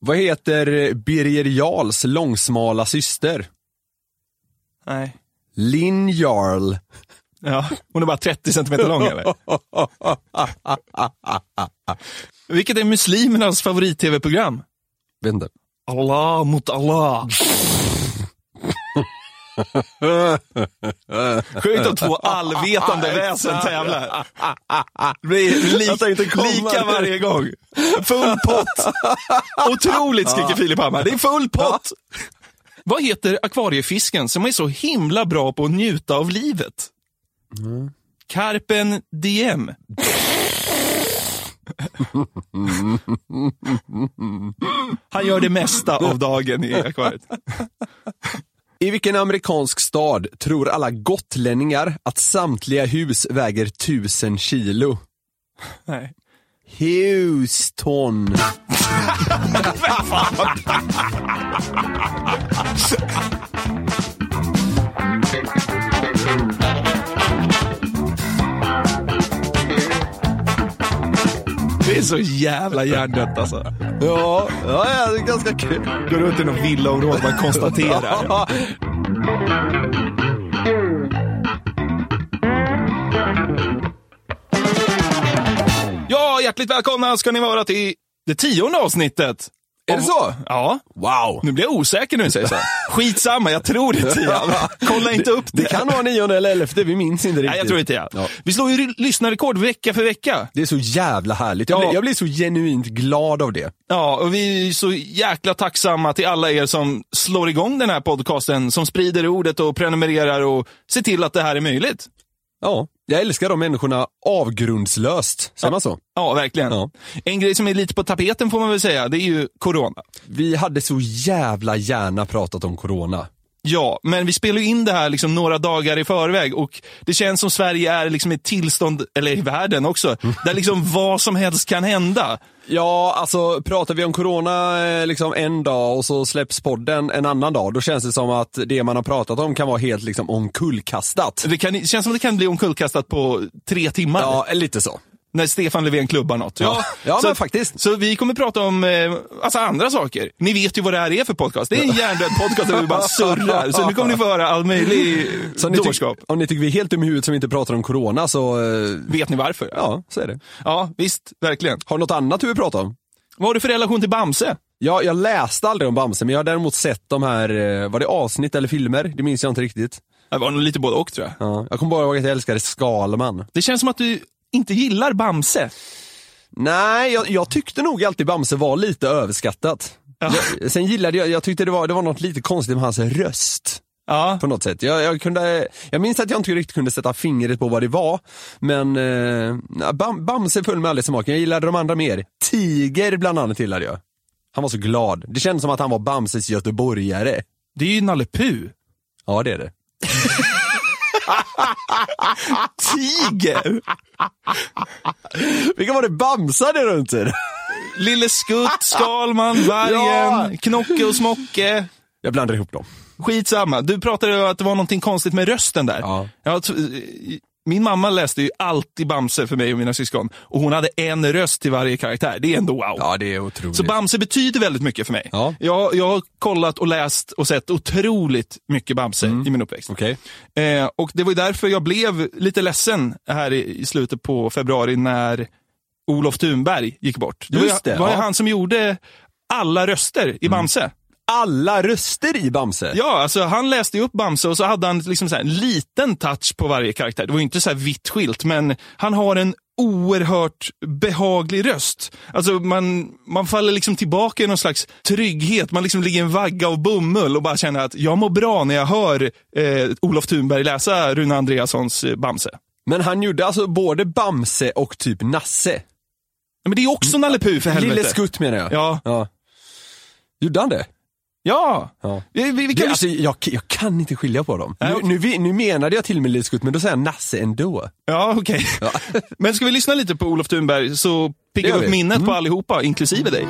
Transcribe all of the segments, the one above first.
Vad heter Birger Jarls långsmala syster? Nej. Linn Jarl. Ja, hon är bara 30 centimeter lång eller? Vilket är muslimernas favorit-tv-program? Vet inte. Allah mot Allah. Sjukt om två allvetande väsen tävlar. Det blir Jag tänkte lik, komma lika där. varje gång. Full pott. Otroligt skriker Filip Hammar. Det är full pott. Vad heter akvariefisken som är så himla bra på att njuta av livet? Mm. Carpen diem. Han gör det mesta av dagen i akvariet. I vilken amerikansk stad tror alla gotlänningar att samtliga hus väger 1000 kilo? Nej. Houston. Det är så jävla hjärndött alltså. Ja, ja, det är ganska kul. Går runt i någon villaområde man konstaterar. Ja. Ja, hjärtligt välkomna ska ni vara till det tionde avsnittet. Är det så? Ja. Wow. Nu blir jag osäker nu säger så. Skitsamma, jag tror det är tian. Kolla inte upp det. Det kan vara nionde eller elfte, vi minns inte riktigt. Nej, jag tror det är tian. Ja. Vi slår ju lyssnarrekord vecka för vecka. Det är så jävla härligt. Jag, Ja. blir, jag blir så genuint glad av det. Ja, och vi är ju så jäkla tacksamma till alla er som slår igång den här podcasten, som sprider ordet och prenumererar och ser till att det här är möjligt. Ja, jag älskar de människorna avgrundslöst. Säger man så? Ja, verkligen. Ja. En grej som är lite på tapeten får man väl säga, det är ju corona. Vi hade så jävla gärna pratat om corona. Ja, men vi spelar ju in det här liksom några dagar i förväg och det känns som Sverige är liksom i ett tillstånd, eller i världen också, där liksom vad som helst kan hända. Ja, alltså pratar vi om corona eh, liksom en dag och så släpps podden en annan dag, då känns det som att det man har pratat om kan vara helt liksom omkullkastat. Det, kan, det känns som det kan bli omkullkastat på tre timmar. Ja, lite så. när Stefan Löfven klubbar något. Ja, Ja, men faktiskt. Så vi kommer prata om eh, alltså andra saker. Ni vet ju vad det här är för podcast. Det är en hjärndöd podcast där vi bara surrar. Så nu kommer ni få höra all möjlig Så om ni, tyck, dårskap. om ni tycker vi är helt dum i huvudet som inte pratar om corona så, eh, Vet ni varför? ja, så är det. ja, visst. Verkligen. Har du något annat du vill prata om? Vad har du för relation till Bamse? Ja, jag läste aldrig om Bamse, men jag har däremot sett de här, eh, var det avsnitt eller filmer? Det minns jag inte riktigt. Det var nog lite både och tror jag. Ja. Jag kommer bara ihåg att jag älskade Skalman. Det känns som att du inte gillar Bamse. Nej, jag, jag tyckte nog alltid Bamse var lite överskattat. Ja. Jag, sen gillade jag, jag tyckte det var, det var något lite konstigt med hans röst. Ja. På något sätt. Jag, jag, kunde, jag minns att jag inte riktigt kunde sätta fingret på vad det var. Men eh, nej, Bam, Bamse föll mig aldrig smaken. Jag gillade de andra mer. Tiger bland annat gillade jag. Han var så glad. Det kändes som att han var Bamses göteborgare. Det är ju Nalle Puh. Ja, det är det. Tiger! Vilka var det Bamse hade runt sig? Lille Skutt, Skalman, Vargen, Ja. Knocke och Smocke. Jag blandar ihop dem. Skitsamma. Du pratade ju att det var någonting konstigt med rösten där. Ja. Jag tr- min mamma läste ju alltid Bamse för mig och mina syskon. Och hon hade en röst till varje karaktär. Det är ändå wow. Ja, det är otroligt. Så Bamse betyder väldigt mycket för mig. Ja. Jag, jag har kollat och läst och sett otroligt mycket Bamse Mm. i min uppväxt. Okej. Eh, och det var ju därför jag blev lite ledsen här i, i slutet på februari när Olof Thunberg gick bort. Det var, Just ju- det, var ju ja. Mm. han som gjorde alla röster i Bamse. Alla röster i Bamse. Ja, alltså han läste ju upp Bamse och så hade han liksom så här en liten touch på varje karaktär. Det var ju inte så här vitt skilt, men han har en oerhört behaglig röst. Alltså man, man faller liksom tillbaka i någon slags trygghet. Man liksom ligger i en vagga av bomull och bara känner att jag mår bra när jag hör eh, Olof Thunberg läsa Rune Andreassons eh, Bamse. Men han gjorde alltså både Bamse och typ Nasse. Men det är också Nalle Puh för helvete. Mm. Lille Skutt menar jag. Ja. Gjorde han det? Ja. Ja. Vi, vi, vi Det, kan alltså, jag, jag kan inte skilja på dem. Nej, Nu, okej. nu, vi- nu menade jag till med Lille Skutt, men då säger jag Nasse ändå. Ja, okej. Men ska vi lyssna lite på Olof Thunberg så piggar Det vi gör upp vi. Mm. minnet på allihopa, inklusive dig.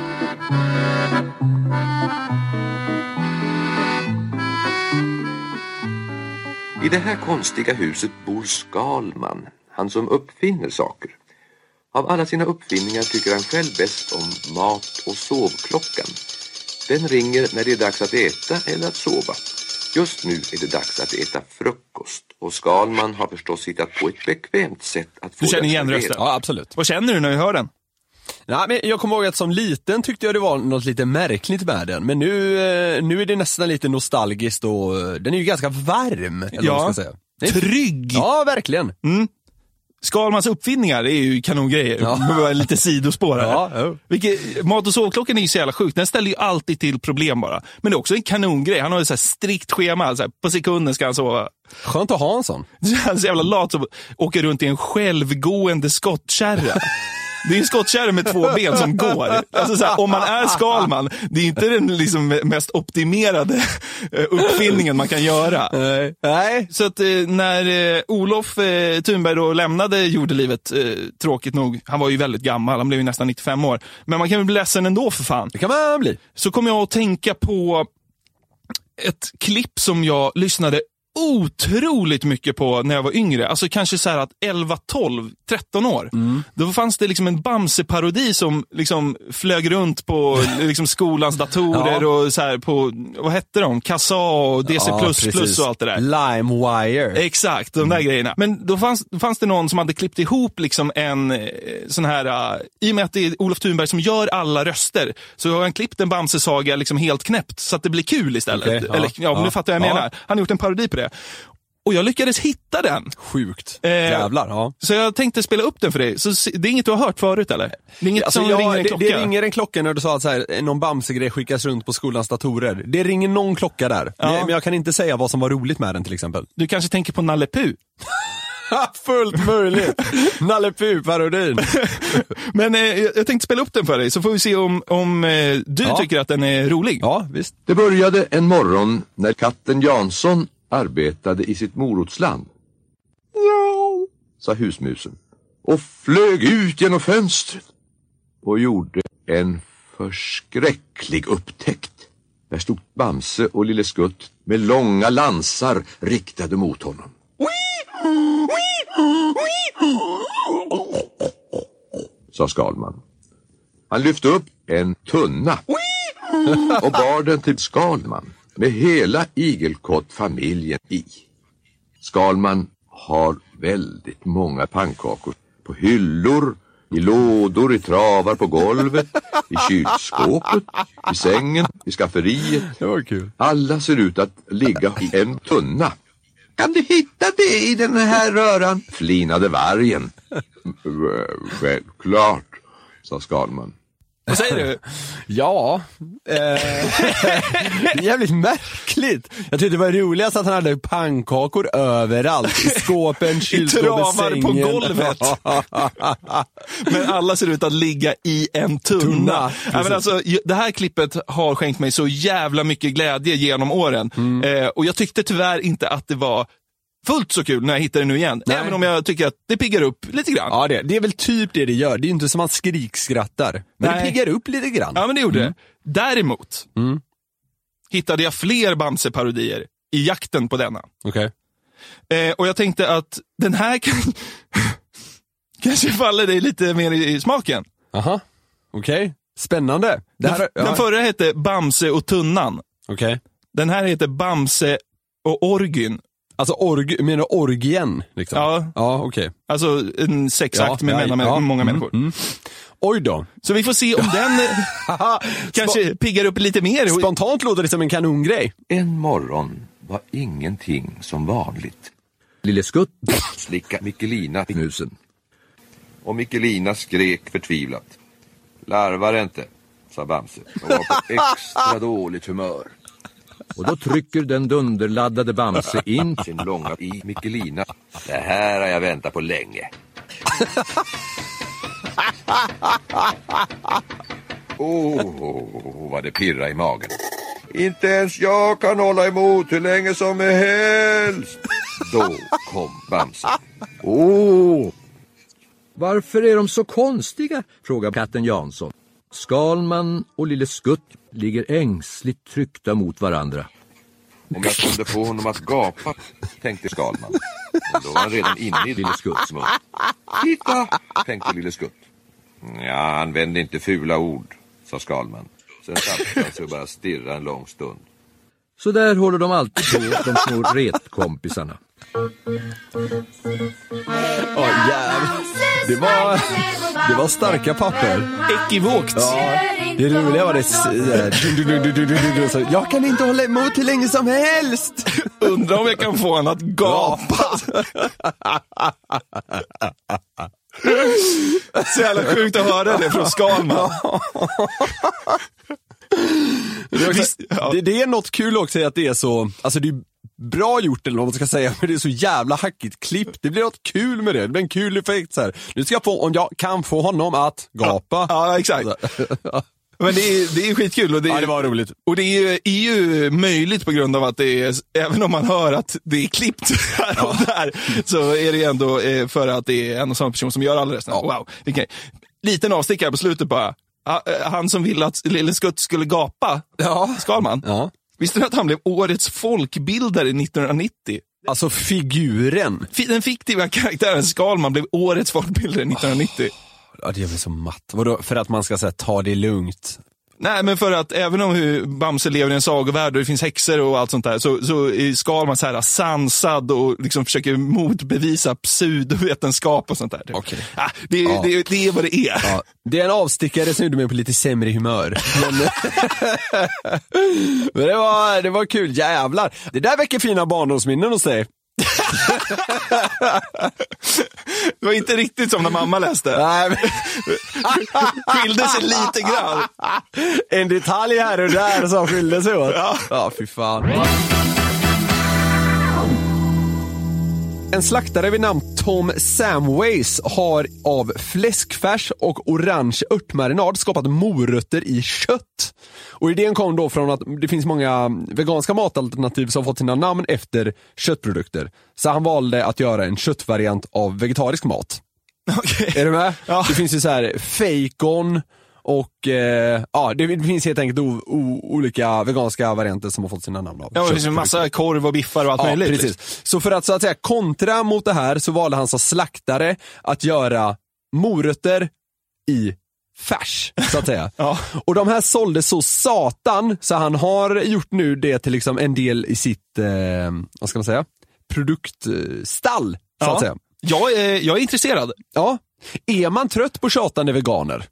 I det här konstiga huset bor Skalman, han som uppfinner saker. Av alla sina uppfinningar tycker han själv bäst om mat och sovklockan. Den ringer när det är dags att äta eller att sova. Just nu är det dags att äta frukost och Skalman har förstås hittat på ett bekvämt sätt att få Du känner det att igen fungera. rösten? Ja, absolut. Vad känner du när du hör den? Nej, men jag kommer ihåg att som liten tyckte jag det var något lite märkligt med den. Men nu, eh, nu är det nästan lite nostalgiskt och eh, den är ju ganska varm. Eller vad man ska säga. Det är- Trygg! Mm. Ja, verkligen. Skalmans uppfinningar är ju kanongrejer. Ja. Det var lite sidospår här. Ja, jo. Vilket, mat och sovklockan är ju så jävla sjuk. Den ställer ju alltid till problem bara. Men det är också en kanongrej. Han har ju så här strikt schema. Så här, på sekunden ska han sova. Skönt att ha en sån. Han är så jävla lat som åker runt i en självgående skottkärra. Det är en skottkärra med två ben som går. Alltså så här, om man är Skalman, det är inte den liksom mest optimerade eh, uppfinningen man kan göra. Nej. Nej. Så att eh, när eh, Olof eh, Thunberg då lämnade jordelivet, eh, tråkigt nog, han var ju väldigt gammal, han blev ju nästan 95 år. Men man kan väl bli ledsen ändå för fan. Det kan man bli. Så kom jag att tänka på ett klipp som jag lyssnade otroligt mycket på när jag var yngre. Alltså kanske så här att 11, 12, 13 år. Mm. Då fanns det liksom en Bamse-parodi som liksom flög runt på liksom skolans datorer Ja. och så här på, vad hette de? Kassa och DC++ Ja, precis. och allt det där. Limewire. Exakt, de där Mm. grejerna. Men då fanns, då fanns det någon som hade klippt ihop liksom en eh, sån här, eh, i och med att det är Olof Thunberg som gör alla röster, så har han klippt en Bamse-saga liksom helt knäppt så att det blir kul istället. Okej, ja, Eller, ja, men du ja, fattar vad jag ja. menar. Han har gjort en parodi på det. Och jag lyckades hitta den. Sjukt. Eh, Jävlar. Ja. Så jag tänkte spela upp den för dig. Så se- det är inget du har hört förut eller? Det är inget Alltså, som jag, ringer en det, klocka? det ringer en klocka när du sa att så här, någon Bamse-grej skickas runt på skolans datorer. Det ringer någon klocka där. Ja. Men jag kan inte säga vad som var roligt med den till exempel. Du kanske tänker på Nalle Puh? Fullt möjligt. Nalle Puh-parodin. Men eh, jag jag tänkte spela upp den för dig, så får vi se om, om eh, du Ja. tycker att den är rolig. Ja, visst. Det började en morgon när katten Jansson arbetade i sitt morotsland. Ja, sa husmusen och flög ut genom fönstret och gjorde en förskräcklig upptäckt. Där stod Bamse och Lille Skutt med långa lansar riktade mot honom. sa Skalman. Han lyfte upp en tunna och bar den till Skalman med hela igelkottfamiljen i. Skalman har väldigt många pannkakor på hyllor, i lådor, i travar på golvet, i kylskåpet, i sängen, i skafferiet. Det var kul. Alla ser ut att ligga i en tunna. Kan du hitta det i den här röran? Flinade vargen. Självklart, sa Skalman. Vad säger du? Ja. Eh, jävligt märkligt. Jag tyckte det var roligast att han hade pannkakor överallt. I skåpen, kylskåpet, travar sängen. på golvet. Men alla ser ut att ligga i en tunna. Tunna, ja, men alltså, ju- det här klippet har skänkt mig så jävla mycket glädje genom åren. Eh, och jag tyckte tyvärr inte att det var fullt så kul när jag hittade det nu igen. Nej. Även om jag tycker att det piggar upp lite grann. Ja, Ja, det, det är väl typ det det gör. Det är ju inte som man skrikskrattar. Men Nej. det piggar upp lite grann. men det gjorde det. Däremot hittade jag fler Bamse-parodier i jakten på denna. Okej. Eh, och jag tänkte att den här kan... kanske faller dig lite mer i i smaken. Aha. Okej. Spännande. Det här, den, den ja. förra hette Bamse och Tunnan. Okej. Den här heter Bamse och Orgyn. Alltså org, menar du orgien? Liksom. Ja. Ja, okej. Alltså en sexakt Ja, med ja, mellan- ja. många Mm, människor. Oj då. Så vi får se om den eh, kanske piggar upp lite mer. Spontant låter det som en kanongrej. En morgon var ingenting som vanligt. Lille Skutt slickade Mikkelina i musen. Och Mikkelina skrek förtvivlat. Larvar inte, sa Bamse och var på extra dåligt humör. Och då trycker den dunderladdade Bamse in Sin långa i Mikkelina. Det här har jag väntat på länge. Åh, oh, vad det pirrar i magen. Inte ens jag kan hålla emot hur länge som helst. Då kom Bamse. Oh. Åh! Varför är de så konstiga? frågar katten Jansson. Skalman och Lille Skutt ligger ängsligt tryckta mot varandra. Om jag kunde få honom att gapa, tänkte Skalman. Men då var han redan inne i Lille Skutts mun. Titta, tänkte Lille Skutt. Ja, använd inte fula ord, sa Skalman. Sen satte sig och bara stirrade en lång stund. Så där håller de alltid på, de små retkompisarna. Åh jävlar. Det var, det var starka papper. Ekivokt. Det roliga var det... s- eh, dun, dun, dun, dun, dun, dun, dun, så, Jag kan inte hålla emot hur länge som helst! Undrar om jag kan få honom att gapa. Så jävla sjukt att höra det från Skalman. Visst, ja. Det, det är något kul också i att det är så, alltså det är bra gjort eller vad man ska säga, men det är så jävla hackigt klippt. Det blir något kul med det, det blir en kul effekt så här. Nu ska jag få, om jag kan få honom att gapa. Ja, exakt. Men det är, det är skitkul. Och det, Ja, det var roligt. Och det är ju, är ju möjligt på grund av att det är, även om man hör att det är klippt här och där, så är det ändå eh, för att det är en och samma person som gör alla resten. Wow, vilken liten avstickare på slutet bara. Ha- eh, Han som ville att Lille Skutt skulle gapa, Ja. Skalman. Ja. Visste du att han blev årets folkbildare 1990? Alltså figuren. Fi- Den fiktiva karaktären Skalman blev årets folkbildare 1990. Ja, det är väl så matt. Vadå, för att man ska säga ta det lugnt. Nej, men för att även om hur Bamse lever i en sagovärld och det finns häxor och allt sånt där, så, så är Skalman så här sansad och liksom försöker motbevisa pseudovetenskap och sånt där. typ. Okej. Ah, det, är- det, är- det är vad det är. Ja. Det är en avstickare som gjorde mig på lite sämre humör. Men, men det, var, det var kul, jävlar. Det där väcker fina barndomsminnen hos dig. Det var inte riktigt som när mamma läste. Nej, men- Skilde sig lite grann. En detalj här och där som skilde sig åt. Ja. ja, fy fan. En slaktare vid namn Tom Samways har av fläskfärs och orange örtmarinad skapat morötter i kött. Och idén kom då från att det finns många veganska matalternativ som fått sina namn efter köttprodukter. Så han valde att göra en köttvariant av vegetarisk mat. Är du med? Ja. Det finns ju så här fejkon och eh, ja, det finns helt enkelt o, o, olika veganska varianter som har fått sina namn av. Ja, det finns ju en köttprodukter. massa korv och biffar och allt Ja, möjligt. precis. Så för att så att säga kontra mot det här så valde han som slaktare att göra morötter i färs, så att säga. Ja. Och de här såldes så satan, så han har gjort nu det till liksom en del i sitt, eh, vad ska man säga, produktstall, så Ja. att säga. Jag är, jag är intresserad. Ja. Är man trött på tjatande veganer?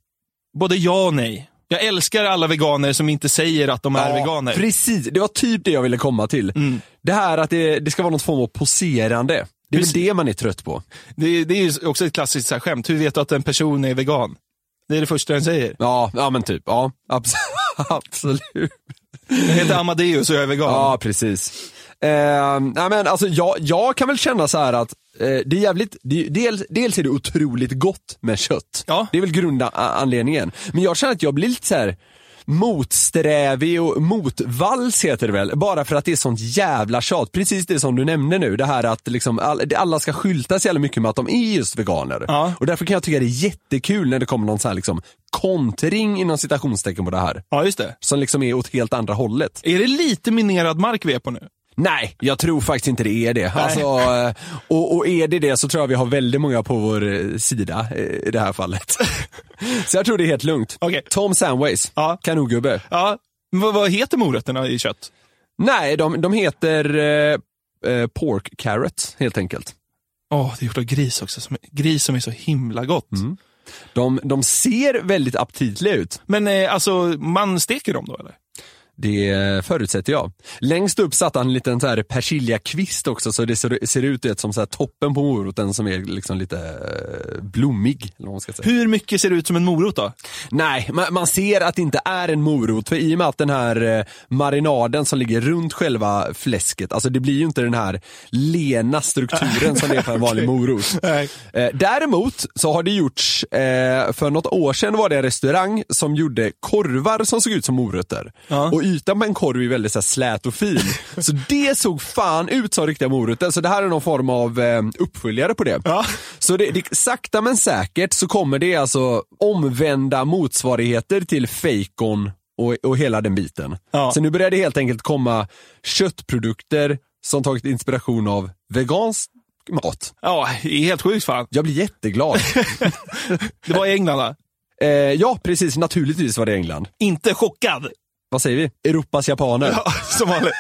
Både ja och nej. Jag älskar alla veganer som inte säger att de är veganer. Precis, det var typ det jag ville komma till. Det här att det, det ska vara något form av poserande. Det är väl Precis. det man är trött på. Det, det är ju också ett klassiskt så här skämt. Hur vet du att en person är vegan? Det är det första den säger. Ja, ja men typ. Ja, abs- absolut. Jag heter Amadeus och jag är vegan. Ja, precis. Eh, nej, men alltså, jag, jag kan väl känna så här att eh, det är jävligt, det, är- dels, dels är det otroligt gott med kött. Ja. Det är väl grundanledningen. Men jag känner att jag blir lite så här motsträvig och motvals heter det väl, bara för att det är sånt jävla tjat. Precis det som du nämnde nu, det här att liksom all, alla ska skylta så jävla mycket med att de är just veganer. Ja. Och därför kan jag tycka det är jättekul när det kommer någon så här liksom kontring inom citationstecken på det här. Ja, just det. Som liksom är åt helt andra hållet. Är det lite minerad mark vi är på nu? Nej, jag tror faktiskt inte det är det. Alltså, eh, och, och är det det så tror jag vi har väldigt många på vår eh, sida eh, i det här fallet. så jag tror det är helt lugnt. Okej. Tom Samways, Ja. kanongubbe. Ja. Men Vad, vad heter morötterna i kött? Nej, de, de heter eh, eh, Pork Carrot helt enkelt. Åh, det är gjort av gris också. Som, gris som är så himla gott. De, de ser väldigt aptitliga ut. Men eh, alltså, man steker dem då eller? Det eh, förutsätter jag. Längst upp satte han en liten så här persiljakvist också så det ser, ser ut det som så här toppen på moroten som är liksom lite eh, blommig. Eller vad man ska säga. Hur mycket ser det ut som en morot då? Nej, man, man ser att det inte är en morot. För i och med att den här eh, marinaden som ligger runt själva fläsket, alltså det blir ju inte den här lena strukturen som det är på en vanlig morot. Nej. Eh, däremot så har det gjorts, eh, för något år sedan var det en restaurang som gjorde korvar som såg ut som morötter. Ja. Och ytan på en korv är väldigt så här, slät och fin. så det såg fan ut som riktiga morötter. Så det här är någon form av eh, uppföljare på det. Ja. Så det, det, sakta men säkert så kommer det alltså omvända motsvarigheter till fejkon och, och hela den biten. Ja. Så nu börjar det helt enkelt komma köttprodukter som tagit inspiration av vegansk mat. Ja, det är helt sjukt fan. Jag blir jätteglad. Det var i England va? Eh, ja, precis. Naturligtvis var det England. Inte chockad. Vad säger vi? Europas japaner. Ja, som vanligt.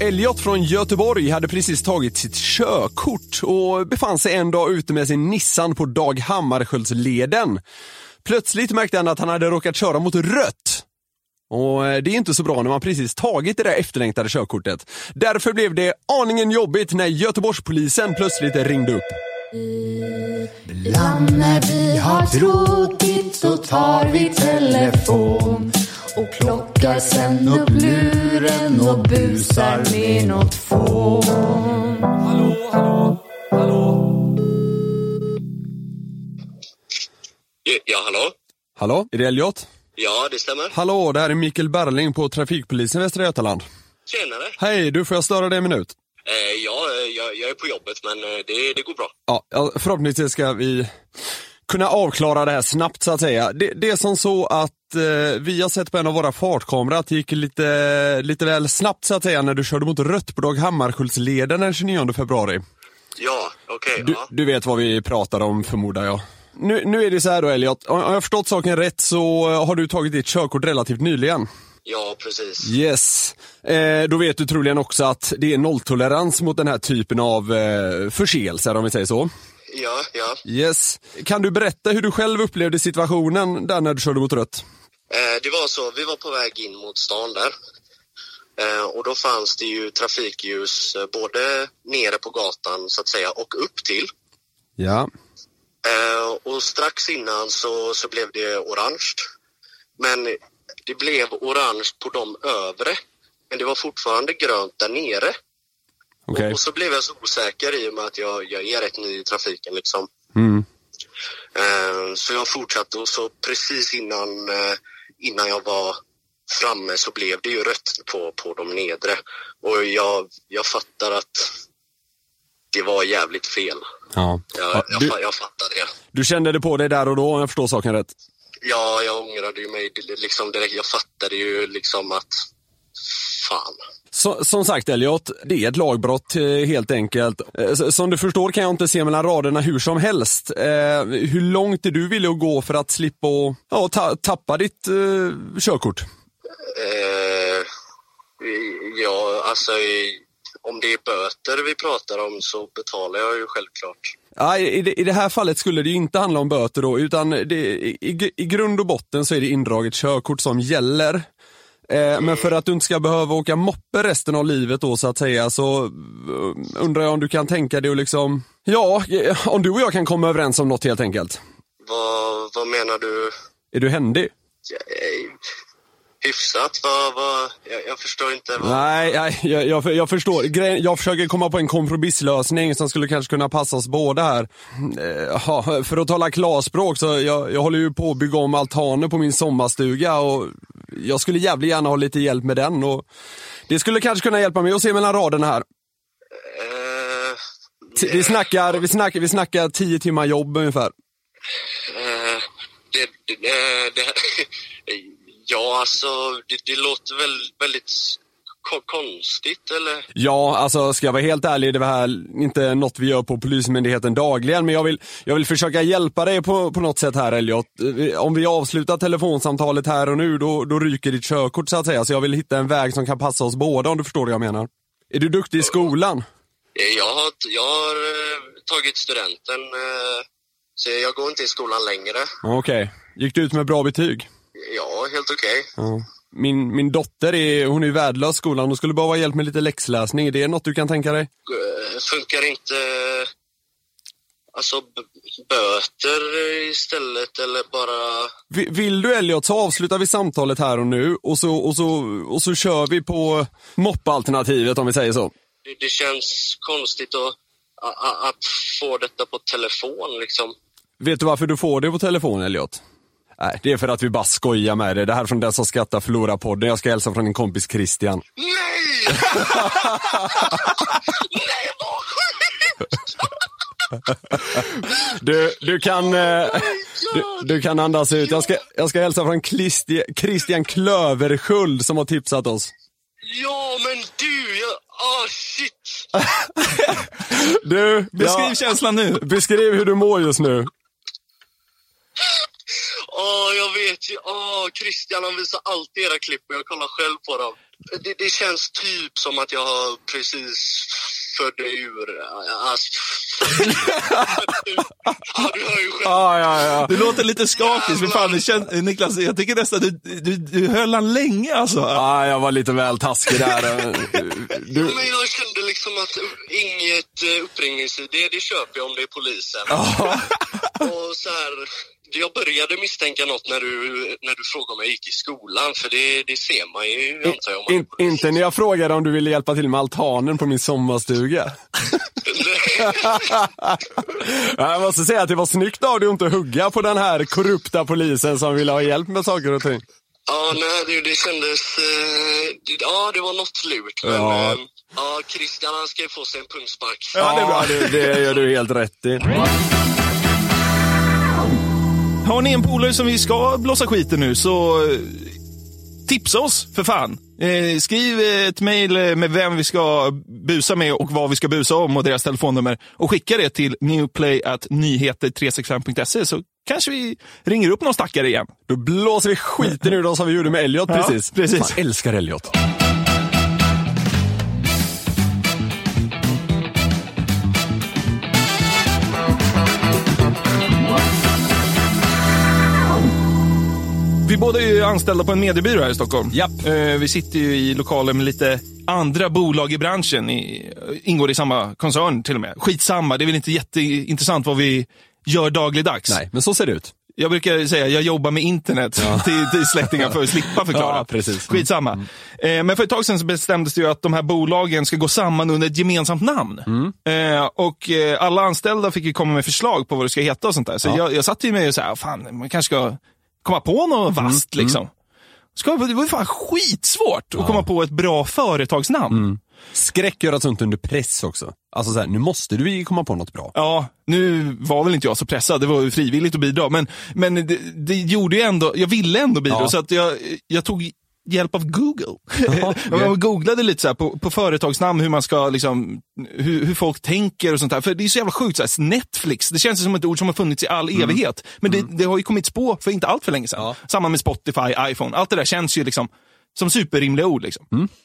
Elliot från Göteborg hade precis tagit sitt körkort och befann sig en dag ute med sin Nissan på Dag Hammarskjöldsleden. Plötsligt märkte han att han hade råkat köra mot rött. Och eh, det är inte så bra när man precis tagit det där efterlängtade körkortet. Därför blev det aningen jobbigt när Göteborgspolisen plötsligt ringde upp. Ibland när vi har tråkigt så tar vi telefon och plockar sen upp luren och busar med något fån. Ja, hallå? Hallå, är det Elliot? Ja, det stämmer. Hallå, det här är Mikael Berling på Trafikpolisen Västra Götaland. Tjenare. Hej, du får jag störa dig en minut? Eh, ja, eh, jag, jag är på jobbet, men eh, det, det går bra. Ja, ja, förhoppningsvis ska vi kunna avklara det här snabbt så att säga. Det, det är som så att eh, vi har sett på en av våra fartkameror att det gick lite, lite väl snabbt så att säga när du körde mot rött på Dag Hammarskjöldsleden den 29 februari. Ja, okej. Du, ja. du vet vad vi pratar om förmodar jag. Nu, nu är det så här då Elliot, om om jag har förstått saken rätt så har du tagit ditt körkort relativt nyligen. ja, precis. Yes. Eh, då vet du troligen också att det är nolltolerans mot den här typen av eh, förseelser om vi säger så. Ja, ja. Yes. Kan du berätta hur du själv upplevde situationen där när du körde mot rött? Eh, det var så, vi var på väg in mot stan där. Eh, och då fanns det ju trafikljus eh, både nere på gatan så att säga och upp till. Ja. Eh, och strax innan så, så blev det orange. Men det blev orange på de övre. Men det var fortfarande grönt där nere. Okej. Och så blev jag så osäker i och med att jag, jag är rätt ny i trafiken liksom. Mm. Eh, så jag fortsatte och så precis innan, eh, innan jag var framme så blev det ju rött på, på de nedre. Och jag, jag fattar att det var jävligt fel. Ja. Jag, jag, du, fa- jag fattar det. du kände det på dig där och då om jag förstår saken rätt? Ja, jag ångrade ju mig det- liksom direkt. Jag fattade ju liksom att fan. Så, som sagt Elliot, det är ett lagbrott eh, helt enkelt. Eh, s- Som du förstår kan jag inte se mellan raderna hur som helst. Eh, hur långt är du villig att gå för att slippa och, ja, ta, tappa ditt eh, körkort? Eh, ja, alltså i- om det är böter vi pratar om så betalar jag ju självklart. Ja, i, i det- I det här fallet skulle det ju inte handla om böter då, utan det, i, i- i grund och botten så är det indraget körkort som gäller. Eh, men för att du inte ska behöva åka moppe resten av livet då så att säga så eh, undrar jag om du kan tänka dig att liksom, ja, eh, om du och jag kan komma överens om något helt enkelt. Vad, vad menar du? Är du händig? Eh, Hyfsat? Vad, vad, jag, jag förstår inte. Vad, Nej, nej jag, jag, jag förstår. Grejen, jag försöker komma på en kompromisslösning som skulle kanske kunna passa oss båda här. Eh, ja, för att tala klarspråk så jag, jag håller ju på att bygga om altaner på min sommarstuga och jag skulle jävligt gärna ha lite hjälp med den. Och det skulle kanske kunna hjälpa mig att se mellan raderna här. eh, T- Vi snackar, vi snackar, vi snackar tio timmar jobb ungefär. eh, det, det, eh, det, ja, alltså det, det låter väl väldigt ko- konstigt eller? Ja, alltså ska jag vara helt ärlig, det var här inte något vi gör på Polismyndigheten dagligen, men jag vill, jag vill försöka hjälpa dig på, på något sätt här Elliot. Eh, Om vi avslutar telefonsamtalet här och nu, då, då ryker ditt körkort så att säga. Så jag vill hitta en väg som kan passa oss båda om du förstår vad jag menar. Är du duktig i skolan? Eh, Jag har, jag har eh, tagit studenten, eh, så jag går inte i skolan längre. Ja, Okej. Gick du ut med bra betyg? Ja, helt okej. Ja. Min, min dotter är, hon är ju värdelös i skolan och skulle behöva hjälp med lite läxläsning. Är det något du kan tänka dig? Eh, Funkar inte alltså b- böter istället eller bara... Vi- Vill du Elliot så avslutar vi samtalet här och nu och så, och så, och så kör vi på moppalternativet om vi säger så. Det, det känns konstigt att, a- a- att få detta på telefon liksom. Vet du varför du får det på telefon Elliot? Nej, det är för att vi bara skojar med dig. Det här är från den som skrattar förlorar podden. Jag ska hälsa från din kompis Christian. Nej! Nej, vad sjukt! Du, du kan... Eh, Ja, Du, du kan andas ut. Jag ska, jag ska hälsa från Christi, Christian Klöverskjöld som har tipsat oss. Ja, men du! Jag, ah, shit! Du, Beskriv ja, känslan nu. beskriv hur du mår just nu. Åh, jag vet ju. Åh, Christian han visar alltid era klipp och jag kollar själv på dem. Det, det känns typ som att jag har precis födde ur... Alltså, ja, du hör ju själv. Ah, ja, ja. Du låter lite skakig. men fan, det känns, Niklas, jag tycker nästan du, du, du höll han länge alltså. Ah, jag var lite väl taskig där. Du, Men jag kände liksom att inget eh, uppringningsidé, det köper jag om det är polisen. Och så här, jag började misstänka något när du, när du frågade om jag gick i skolan, för det, det ser man ju antar jag. om man- in, inte när jag frågade om du ville hjälpa till med altanen på min sommarstuga. Ja, Jag måste säga att det var snyggt av dig att inte hugga på den här korrupta polisen som ville ha hjälp med saker och ting. Ja, nej, det, det kändes... Eh, det, ja, det var något lurt. Men Ja. ja. ja, Christian han ska ju få sig en pungspark. Ja, det, är bra. Det, det gör du helt rätt i. Har ni en polare som vi ska blåsa skiten nu så eh, tipsa oss för fan. Eh, skriv eh, ett mejl eh, med vem vi ska busa med och vad vi ska busa om och deras telefonnummer och skicka det till newplay.nyheter365.se så kanske vi ringer upp någon stackare igen. Då blåser vi skiten ur dem som vi gjorde med Elliot Ja, precis. precis. Fan, älskar Elliot. Vi båda är ju anställda på en mediebyrå här i Stockholm. Japp. Eh, Vi sitter ju i lokaler med lite andra bolag i branschen. I, eh, ingår i samma koncern till och med. Skitsamma, det är väl inte jätteintressant vad vi gör dagligdags. Nej, men så ser det ut. Jag brukar säga jag jobbar med internet till, till släktingar för att slippa förklara. Ja, precis. Mm. Skitsamma. Eh, men för ett tag sedan så bestämdes det ju att de här bolagen ska gå samman under ett gemensamt namn. Mm. Eh, och eh, alla anställda fick ju komma med förslag på vad det ska heta och sånt där. Så jag, jag satt ju med och så här, fan, man kanske ska komma på något Mm. vasst liksom. Ska, det var ju fan skitsvårt att komma på ett bra företagsnamn. Skräck gör att sånt under press också. Alltså så här, nu måste du ju komma på något bra. Ja, nu var väl inte jag så pressad, det var ju frivilligt att bidra, men, men det, det gjorde ju ändå, jag ville ändå bidra, Ja. så att jag, jag tog hjälp av Google. okej. jag googlade lite så här på, på företagsnamn, hur man ska liksom, hur, hur folk tänker och sånt där. För det är så jävla sjukt, så här, Netflix, det känns som ett ord som har funnits i all evighet. Men det, det har ju kommits på för inte allt för länge sedan. Samma med Spotify, iPhone, allt det där känns ju liksom som superrimliga ord. Liksom.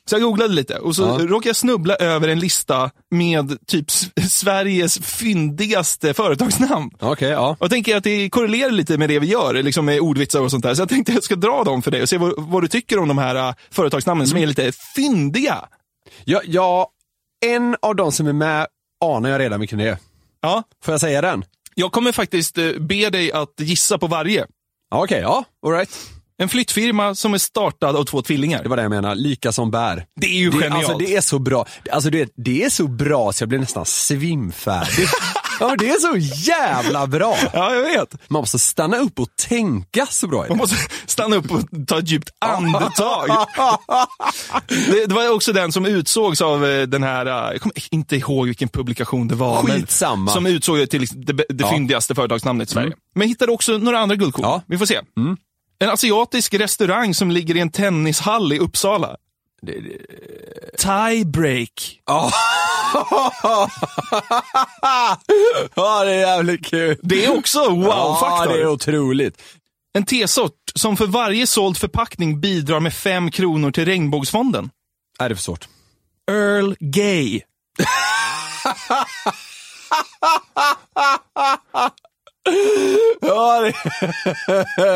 Så jag googlade lite och så råkade jag snubbla över en lista med typ S- Sveriges fyndigaste företagsnamn. Okej, ja. Och jag tänker att det korrelerar lite med det vi gör, liksom med ordvitsar och sånt där. Så jag tänkte att jag ska dra dem för dig och se vad, vad du tycker om de här äh, företagsnamnen som är lite fyndiga. ja. Ja, en av de som är med anar jag redan vilken det är. Ja, Får jag säga den? jag kommer faktiskt eh, be dig att gissa på varje. Ja, Okej, ja. Alright. En flyttfirma som är startad av två tvillingar. Det var det jag menade. Lika som bär. Det är ju Det, genialt. alltså det är så bra. Alltså det, det är så bra så jag blir nästan svimfärdig. ja, men det är så jävla bra. Ja, jag vet. Man måste stanna upp och tänka så bra är Man det. måste stanna upp och ta ett djupt andetag. Det, det var också den som utsågs av eh, den här, eh, jag kommer inte ihåg vilken publikation det var. Skitsamma. Mm. Men, som utsåg det till det, det fyndigaste företagsnamnet i Sverige. Men jag hittade också några andra guldkorn. Ja. Mm. Vi får se. En asiatisk restaurang som ligger i en tennishall i Uppsala. Tie break. Ja, det är jävligt kul. Det är också ja, wow-faktor. det är otroligt. En tesort som för varje såld förpackning bidrar med fem kronor till regnbågsfonden. Är det är för svårt? Earl Gay. Ja, det,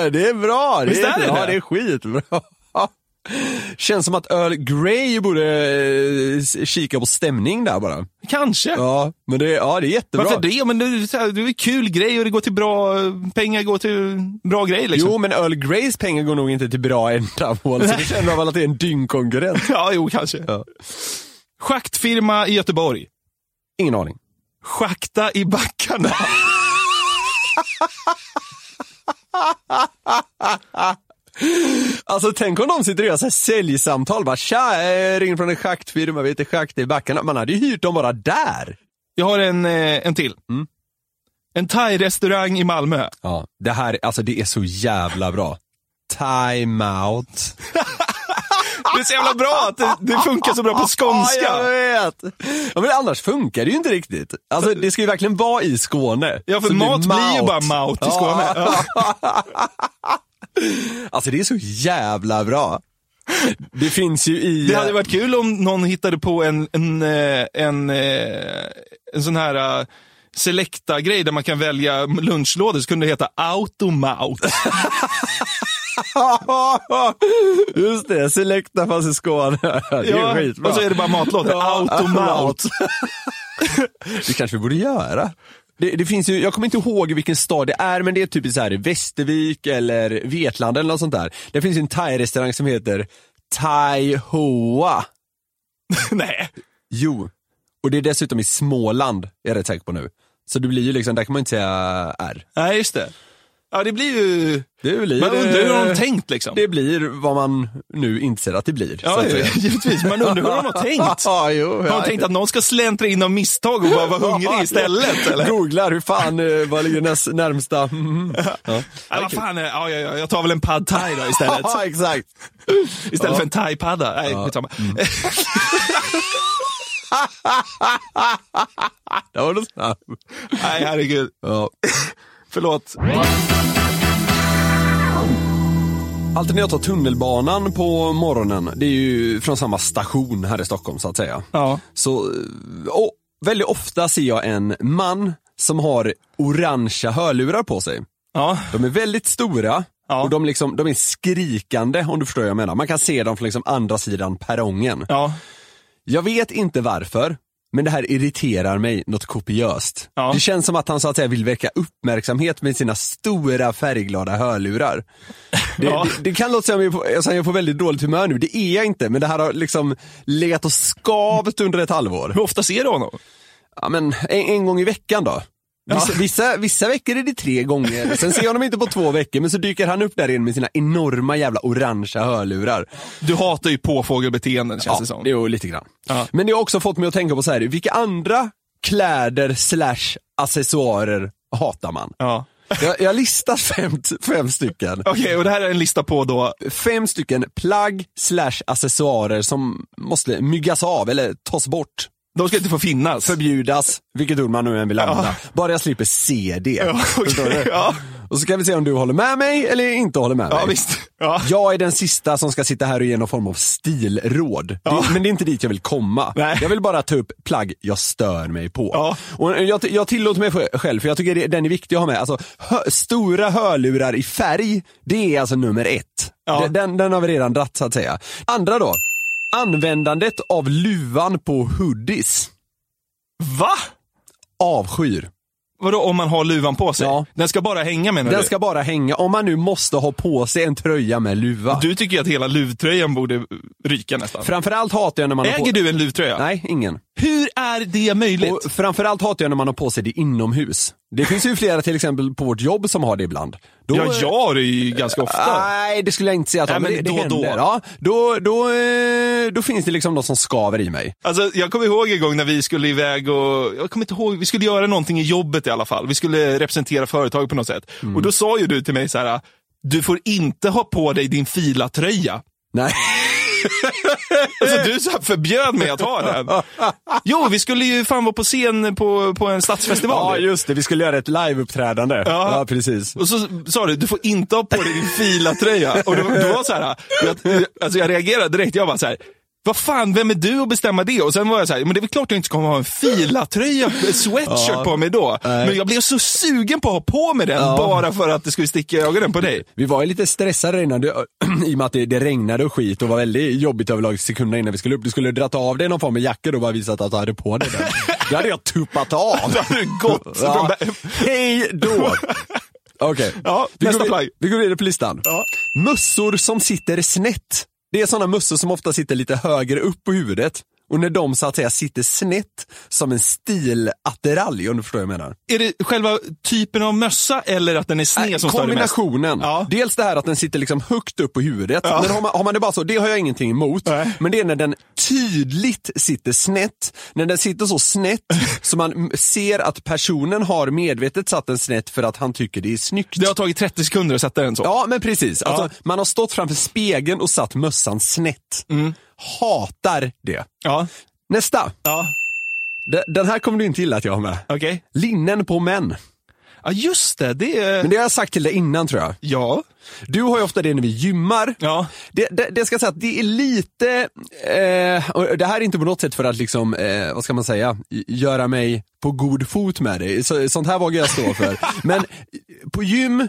det är bra. Visst är det Ja, det? det är skitbra. Känns som att Earl Grey borde eh, kika på stämning där bara. Kanske. Ja, men det, ja, det är jättebra. Varför det? Men det, är så här, det är en kul grej och det går till bra, pengar går till bra grejer liksom. Jo, men Earl Greys pengar går nog inte till bra ändamål, så det känner jag väl att det är en dyngkonkurrent. Ja, jo kanske. Ja. Schaktfirma i Göteborg. Ingen aning. Schakta i backarna. Alltså tänk om de sitter och gör så här säljsamtal, bara tja, jag ringer från en schaktfirma, vi heter Schakt i backarna. Man hade ju hyrt dem bara där. Mm. Jag har en, eh, en till. En thai-restaurang i Malmö. Ja, det här, alltså det är så jävla bra. Time out. Det är så jävla bra att det, det funkar så bra på skånska. vet! Ja, men annars funkar det ju inte riktigt. Alltså det ska ju verkligen vara i Skåne. Ja, för Så det mat blir ju bara maut i Skåne. Ja. Alltså det är så jävla bra. Det finns ju i... Det hade varit kul om någon hittade på en, en, eh, en, eh, en sån här eh, Selecta-grej där man kan välja lunchlådor, så kunde det heta automaut. Just det, Selecta fast i Skåne. Det är Ja, skitbra. och så är det bara matlådor. automaut. Det kanske vi borde göra. Det, det finns ju, jag kommer inte ihåg vilken stad det är, men det är typ så här Västervik eller Vetlanda eller något sånt där. Det finns ju en thai-restaurang som heter Thai Hoa. Nej. Jo, och det är dessutom i Småland, är jag rätt säker på nu. Så det blir ju liksom, där kan man ju inte säga R. Nej, just det. Ja, det blir ju... Det blir, Man undrar hur de har tänkt liksom. Det blir vad man nu inser att det blir. så Ja, att säga. givetvis. Man undrar hur de har tänkt. Ja, jo, Har de tänkt att någon ska släntra in av misstag och bara vara hungrig istället? Eller? Googlar, hur fan, eh, vad ligger näst, närmsta? Mm. Ja. Ja, vad fan, är det? ja, ja, ja, jag tar väl en pad thai då istället. Ja, exakt. Istället för en thai-padda. Nej, skitsamma. Det var något snabb. Nej, herregud. Ja. Förlåt. Alltid när jag tar tunnelbanan på morgonen, det är ju från samma station här i Stockholm så att säga. Ja. Så, eh, och väldigt ofta ser jag en man som har orangea hörlurar på sig. Ja, De är väldigt stora Ja. och de, liksom, de är skrikande om du förstår vad jag menar. Man kan se dem från liksom andra sidan perrongen. ja, Jag vet inte varför, men det här irriterar mig något kopiöst. Ja. Det känns som att han så att säga vill väcka uppmärksamhet med sina stora färgglada hörlurar. Det, Ja. det, det kan låta som att jag är på- jag säger jag är på väldigt dåligt humör nu, det är jag inte, men det här har liksom legat och skavt under ett halvår. hur ofta ser du honom? Ja, men en, en gång i veckan då. Vissa, vissa, vissa veckor är det tre gånger, sen ser jag honom inte på två veckor, men så dyker han upp där in med sina enorma jävla orangea hörlurar. Alltså, Du hatar ju påfågelbeteenden känns det som. Jo, lite grann. Ja. Men det har också fått mig att tänka på så här, vilka andra kläder slash accessoarer hatar man? Ja. Jag, jag listar fem, fem stycken. Okej, och det här är en lista på då. Fem stycken plagg slash accessoarer som måste myggas av eller tas bort. De ska inte få finnas. Förbjudas, vilket ord man nu än vill använda. Bara jag slipper se det. Ja, Förstår okej. du? Ja. Och så kan vi se om du håller med mig eller inte håller med ja, mig. visst. Ja. Jag är den sista som ska sitta här och ge någon form av stilråd. Det, men det är inte dit jag vill komma. Nej. Jag vill bara ta upp plagg jag stör mig på. Ja. Och jag, jag tillåter mig sj- själv, för jag tycker det, den är viktig att ha med. Alltså, hö, stora hörlurar i färg, det är alltså nummer ett. Ja. Den- Den, den har vi redan dratt så att säga. Andra då. Användandet av luvan på hoodies. Va? Avskyr. Vadå om man har luvan på sig? Ja. Den ska bara hänga menar Den du? ska bara hänga, om man nu måste ha på sig en tröja med luva. Du tycker ju att hela luvtröjan borde eh, ryka nästan. Framförallt hatar jag när man har på... Äger du en luvtröja? Nej, ingen. Hur är det möjligt? Och framförallt hatar jag när man har på sig det inomhus. Det finns ju flera till exempel på vårt jobb som har det ibland. Då- Ah. ja, jag har det ju ganska ofta. Nej, det skulle jag inte säga att Nej, jag har, men det, då det och då. händer. Ja, då, då, eh, då finns det liksom något som skaver i mig. Alltså, jag kommer ihåg en gång när vi skulle iväg och, jag kommer inte ihåg, vi skulle göra någonting i jobbet i alla fall. Vi skulle representera företaget på något sätt. Mm. Och då sa ju du till mig så här, du får inte ha på dig din filatröja. Nej, Alltså du så här förbjöd mig att ha den. Jo, vi skulle ju fan vara på scen på, på en ja stadsfestival. just det. Vi skulle göra ett liveuppträdande. Ja. ja precis. Och så sa du, du får inte ha på dig din filatröja. Och det, var- det var så här, jag, alltså jag reagerade direkt, jag var så här, vad fan, vem är du att bestämma det? Och sen var jag så här, men det är väl klart jag inte ska ha en filatröja, sweatshirt på mig då. Men jag blev så sugen på att ha på mig den, bara för att det skulle sticka i ögonen på dig. Vi var ju lite stressade innan, du, i och med att det, det regnade och skit och var väldigt jobbigt överlag sekunderna innan vi skulle upp. Du skulle dratt av dig någon form av jacka och bara visat att du hade på dig den. Det hade jag tuppat av. Det hade gått. Ja. Hej då! Okej. Ja, vi, går nästa vid- plagg. vi går vidare på listan. Ja. Mössor som sitter snett. Det är sådana mössor som ofta sitter lite högre upp på huvudet. Och när de så att säga sitter snett som en stilattiralj, om du förstår vad jag menar. Är det själva typen av mössa eller att den är sned Nej, som stör dig mest? Äh, kombinationen. Ja. Dels det här att den sitter liksom högt upp på huvudet. Men har, man, har man det bara så, det har jag ingenting emot. Nej. Men det är när den tydligt sitter snett. När den sitter så snett så man m- ser att personen har medvetet satt den snett för att han tycker det är snyggt. Det har tagit 30 sekunder att sätta den så. Ja, men precis. Alltså, Man har stått framför spegeln och satt mössan snett. Mm. Hatar det. Ja. Nästa. Ja. D- Den här kommer du inte gilla att jag har med. Okej. Linnen på män. Ja, just det. Det är... Men det har jag sagt till dig innan tror jag. Ja. Du har ju ofta det när vi gymmar. Ja. Det, det, det ska jag säga att det är lite, eh, och det här är inte på något sätt för att liksom, eh, vad ska man säga, i- göra mig på god fot med dig. Så, sånt här vågar jag stå för. Men på gym,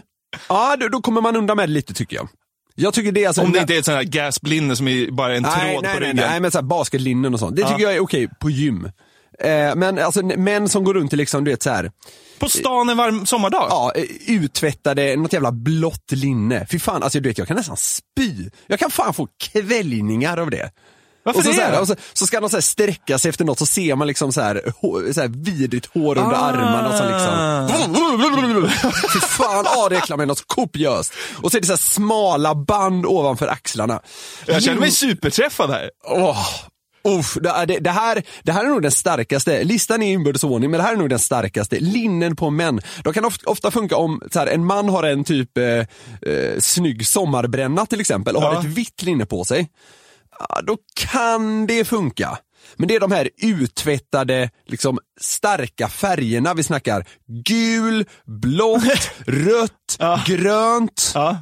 ja då, då kommer man undan med det lite tycker jag. Jag tycker det är alltså Om det inte är ett sånt här gasplinne som är bara en nej, tråd nej, på nej, ryggen. nej, men så här basketlinnen och sånt. Det tycker jag är okej på gym. Eh, men alltså n- män som går runt i liksom, du vet så här, På stan en varm sommardag? ja, eh, uttvättade, något jävla blått linne. Fy fan, alltså du vet jag kan nästan spy. Jag kan fan få kvällningar av det. Varför och så, det? Så, här, och så, så ska de så här sträcka sig efter något så ser man liksom så här, hår, så här vidrigt hår Ah. under armarna som liksom... Fy fan, ja det äcklar mig något kopiöst. Och så är det så här smala band ovanför axlarna. Jag känner mig Jo, superträffad här. Åh. Uff, det, det, det, här, det här är nog den starkaste, listan är i inbördes ordning, men det här är nog den starkaste. Linnen på män. De kan ofta, ofta funka om så här, en man har en typ eh, eh, snygg sommarbränna till exempel och har Ja. ett vitt linne på sig. Ja, då kan det funka. Men det är de här uttvättade, liksom starka färgerna vi snackar. Gul, blått, rött, Ja. grönt. Ja.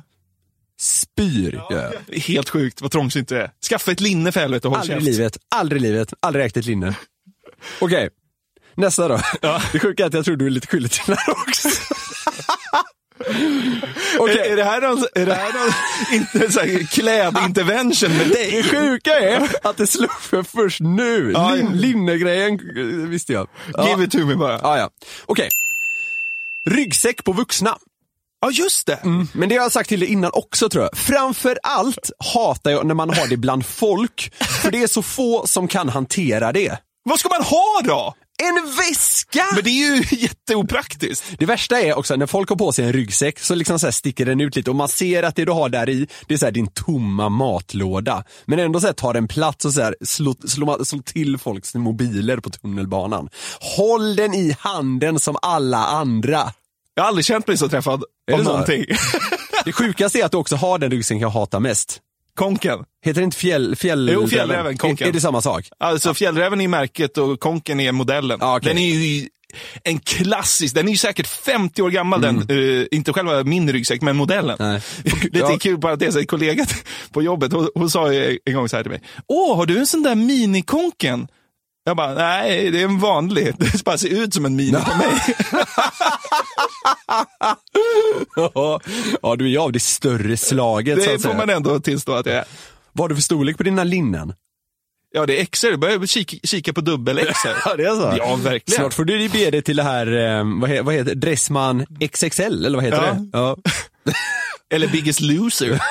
Spyr gör jag. Det är Helt sjukt vad trångsynt du är. Skaffa ett linne för helvete och håll Aldrig i käft. livet, aldrig i livet, aldrig ägt ett linne. Okej, nästa då. Det sjuka är att jag tror du är lite skyldig till den här också. Okej. Är, är det här någon, är det här någon inte, så här, klädintervention med dig? Det sjuka är att det slog för först nu. Ja, ja. Lin, linnegrejen eh, visste jag. Ja. Give it to me bara. Ja, ja. Okej. Ryggsäck på vuxna. Ja, just det. Men det har jag sagt till dig innan också tror jag. Framför allt hatar jag när man har det bland folk. För det är så få som kan hantera det. Vad ska man ha Ah. då? En väska! Men det är ju jätteopraktiskt. Det värsta är också när folk har på sig en ryggsäck så liksom så här sticker den ut lite och man ser att det du har där i det är så här din tomma matlåda. Men ändå så här tar den plats och så här slår, slår, slår till folks mobiler på tunnelbanan. Håll den i handen som alla andra. Jag har aldrig känt mig så träffad Är av det så? någonting. Det sjukaste är att du också har den ryggsäcken jag hatar mest. Konken. Heter det inte fjäll... fjäll Jo, fjällräven, är, konken. är det samma sak? Alltså fjällräven är märket och konken är modellen. Ja, okej. Den är ju en klassisk, den är ju säkert 50 år gammal den, eh, inte själva min ryggsäck men modellen. Mm. Nej. Lite Ja. kul bara att det är så en kollega på jobbet, hon, hon sa ju en gång så här till mig. Åh, har du en sån där minikonken? Jag bara, nej det är en vanlig, det bara ser ut som en mini på mig. ja, du är ju av det större slaget så att Det säga. får man ändå tillstå att jag är. Vad har du för storlek på dina linnen? Ja, det är XR, börjar kika, kika på dubbel-XR. Ja, det är så? Ja, verkligen. Snart får du ju bege dig till det här, eh, vad, he, vad heter Dressman XXL, eller vad heter Ja. det? Ja. Eller Biggest Loser.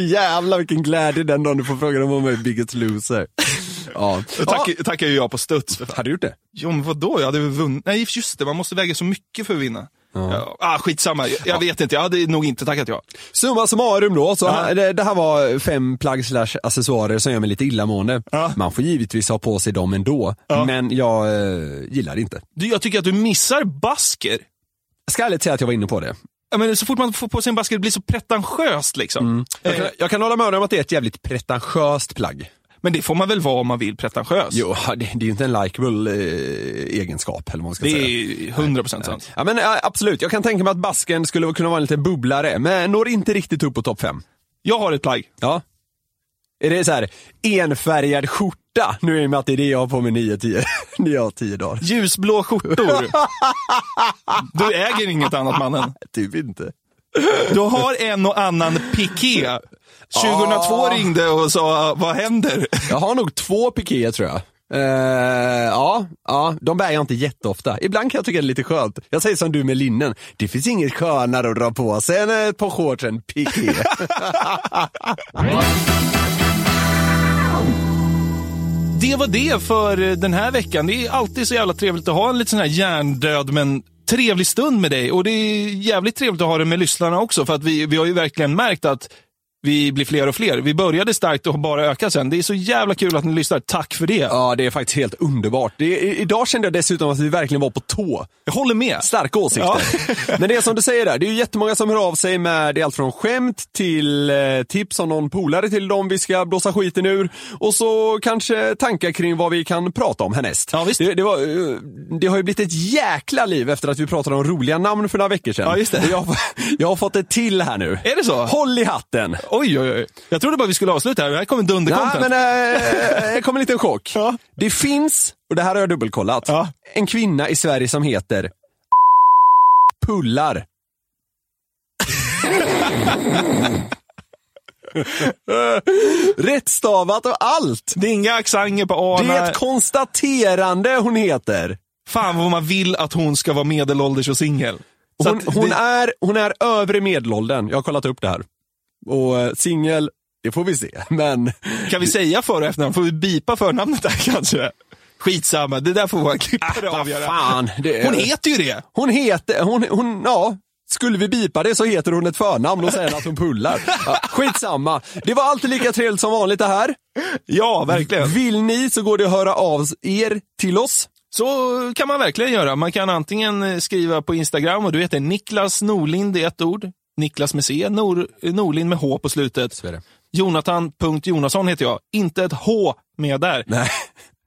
Jävlar vilken glädje den dagen du får frågan om jag är biggest loser. Ja. Då tack, ja. tackar ju jag på studs. För fan. Har du gjort det? Jo, men vadå? Jag hade väl vunnit? Nej, just det. Man måste väga så mycket för att vinna. Ja. Ah, skitsamma. Jag, jag vet inte. Jag hade nog inte tackat ja. Summa summarum då, så här, det, det här var fem plagg slash accessoarer som gör mig lite illamående. Ja. Man får givetvis ha på sig dem ändå, men jag eh, gillar det inte. Du, jag tycker att du missar basker. Jag ska ärligt säga att jag var inne på det. Ja, men så fort man får på sig en basker, det blir så pretentiöst liksom. Jag kan, Eh, jag kan hålla med om att det är ett jävligt pretentiöst plagg. men det får man väl vara om man vill pretentiös. Jo, det, det är ju inte en likeable eh, egenskap, eller vad man ska Det säga. är 100 procent sant. Ja men ja, absolut, jag kan tänka mig att basken skulle kunna vara en liten bubblare, men når inte riktigt upp på topp 5. Jag har ett plagg. Ja. Är det så här enfärgad skjorta? Nu är det med att det är det jag har på mig 9-10 9 av 10 dagar. Ljusblå skjortor. Du äger inget annat mannen. Typ inte. Du har en och annan piké. 2002 ringde och sa, vad händer? Jag har nog två pikéer tror jag. Eh, ja, ja, de bär jag inte jätteofta. Ibland kan jag tycka det är lite skönt. Jag säger som du med linnen. Det finns inget skönare att dra på sig än ett par shorts än piké. det var det för eh, den här veckan. Det är alltid så jävla trevligt att ha en lite sån här hjärndöd men trevlig stund med dig. Och det är jävligt trevligt att ha det med lyssnarna också för att vi, vi har ju verkligen märkt att vi blir fler och fler. Vi började starkt och har bara ökat sen. Det är så jävla kul att ni lyssnar. Tack för det. Ja, det är faktiskt helt underbart. Det, i- idag kände jag dessutom att vi verkligen var på tå. Jag håller med. Starka åsikter. Men det är som du säger där, det är ju jättemånga som hör av sig med det är allt från skämt till eh, tips om någon polare till dem vi ska blåsa skiten ur. Och så kanske tankar kring vad vi kan prata om härnäst. Ja, visst. Det, det, var, eh, det har ju blivit ett jäkla liv efter att vi pratade om roliga namn för några veckor sedan. Ja, just det. Eh. Och Jag, har- jag har fått ett till här nu. Är det så? Håll i hatten! Oj, oj, oj. Jag trodde bara vi skulle avsluta här. Här kommer Ja, dunder-content. men eh, det kom en liten chock. Ja. Det finns, och det här har jag dubbelkollat, Ja. en kvinna i Sverige som heter Pullar. Rättstavat och allt. Det är inga accenter på A. Det är nej. ett konstaterande hon heter. Fan vad man vill att hon ska vara medelålders och singel. Så Hon, att hon, det- är, hon är övre medelåldern. Jag har kollat upp det här. Och eh, singel, det får vi se. Men Kan vi säga för och efternamn? Får vi bipa förnamnet där kanske? Skitsamma, det där får våra klippare avgöra. Ah, fan. Det är... Hon heter ju det! Hon heter, hon, hon, ja. Skulle vi bipa det så heter hon ett förnamn och säger att hon pullar. Ja, skitsamma. Det var alltid lika trevligt som vanligt det här. Ja, verkligen. Vill ni så går det att höra av er till oss. Så kan man verkligen göra. Man kan antingen eh, skriva på Instagram och du heter Niklas Norlind i ett ord. Niklas med C, Nor, eh, Norlind med H på slutet. är det. Jonathan.Jonasson heter jag. Inte ett H med där. Nej.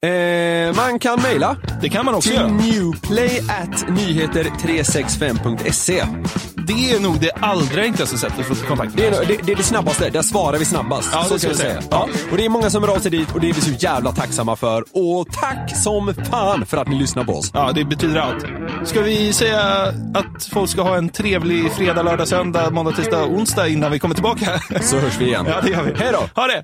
Eh, man kan mejla Det kan man också till göra. newplay nyheter 365se Det är nog det allra enklaste sättet för att få kontakt Det med är, oss. det, det är det snabbaste, där svarar vi snabbast. Ja, det så ska kan jag säga. Ja. Och det är många som hör av sig dit och det är vi så jävla tacksamma för. Och tack som fan för att ni lyssnar på oss. Ja, det betyder allt. Ska vi säga att folk ska ha en trevlig fredag, lördag, söndag, måndag, tisdag, onsdag innan vi kommer tillbaka? Så hörs vi igen. Ja, det gör vi. Hej då! Ha det!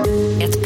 Ett